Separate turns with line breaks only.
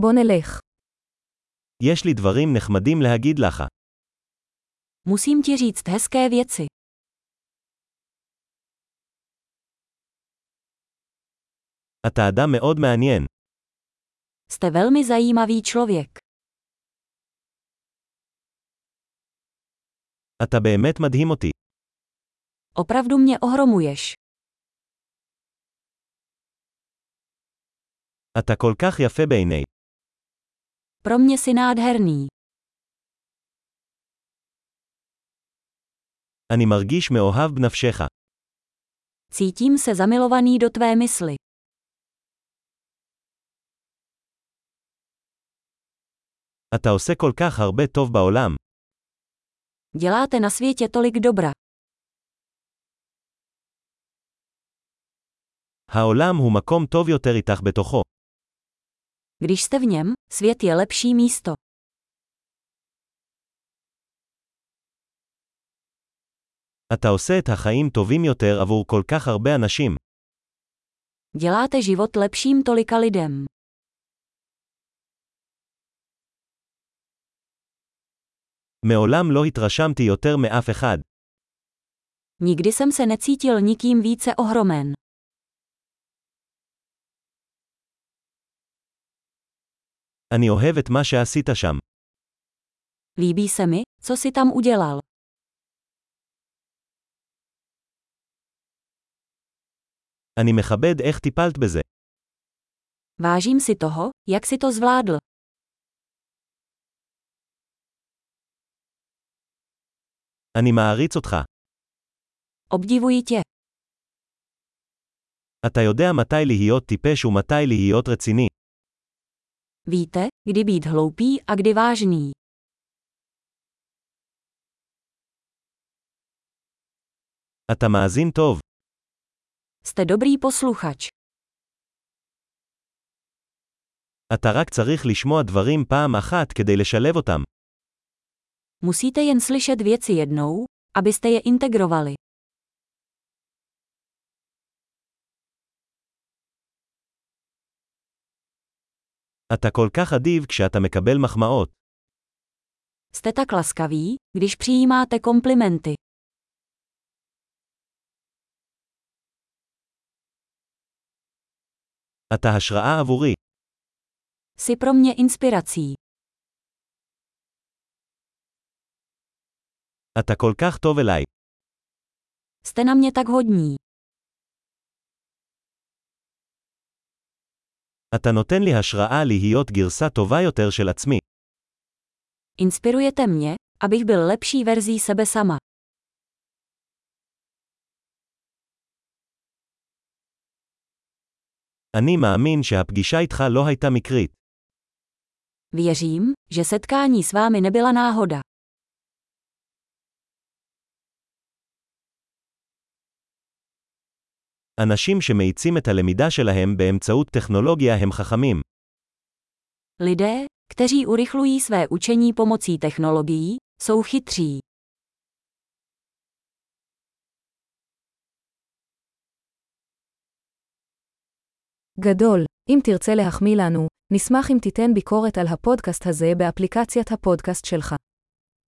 בוא נלך.
יש לי דברים נחמדים להגיד לך.
Musím ti říct hezké věci.
אתה אדם מאוד מעניין.
Jste velmi zajímavý člověk.
אתה באמת מדהים אותי.
Opravdu mě ohromuješ.
אתה כל כך יפה בעיני.
Pro mě si nádherný.
אני מרגיש מאוהב בנפשך.
Cítím se zamilovaný do tvé mysli.
אתה עושה כל כך הרבה טוב בעולם.
Děláte na světě tolik dobra.
העולם הוא מקום טוב יותר איתך בתוכו.
Když jste v něm, svět je lepší místo.
אתה עושה את החיים טובים יותר עבור כל כך הרבה אנשים.
Děláte život lepším tolika lidem.
מעולם לא התרשמתי יותר מאף אחד.
Nikdy jsem se necítil nikým více ohromen.
אני אוהב את מה שעשית שם.
Líbí se mi, co si tam udělal.
אני מכבד איך טיפלת בזה.
Vážím si toho, jak si to zvládl.
אני מעריץ אותך.
Obdivuji tě.
אתה יודע מתי להיות טיפש ומתי להיות רציני.
Víte, kdy být hloupý a kdy vážný.
אתה מאזין טוב.
Jste dobrý posluchač.
אתה רק צריך לשמוע דברים פעם אחת כדי לשלב אותם.
Musíte jen slyšet věci jednou, abyste je integrovali.
אתה כל כך אדיב כשאתה מקבל מחמאות.
Jste tak laskaví, když přijímáte komplimenty.
אתה השראה עבורי.
Jsi pro mě inspirací.
אתה כל כך טוב אליי.
Jste na mě tak hodní.
אתה נותן לי השראה להיות גרסה טובה יותר של עצמי.
Inspirujete mě, abych byl lepší verzí sebe sama.
אני מאמין שהפגישה איתך לא הייתה מקרית.
Věřím, že setkání s vámi nebyla náhoda.
אנשים שמאיצים את הלמידה שלהם באמצעות טכנולוגיה הם חכמים.
Lidé, kteří urychlují své učení pomocí technologií, jsou chytří.
גדול, אם תרצה להחמיא לנו, נשמח אם תיתן ביקורת על הפודקאסט הזה באפליקציית הפודקאסט שלך.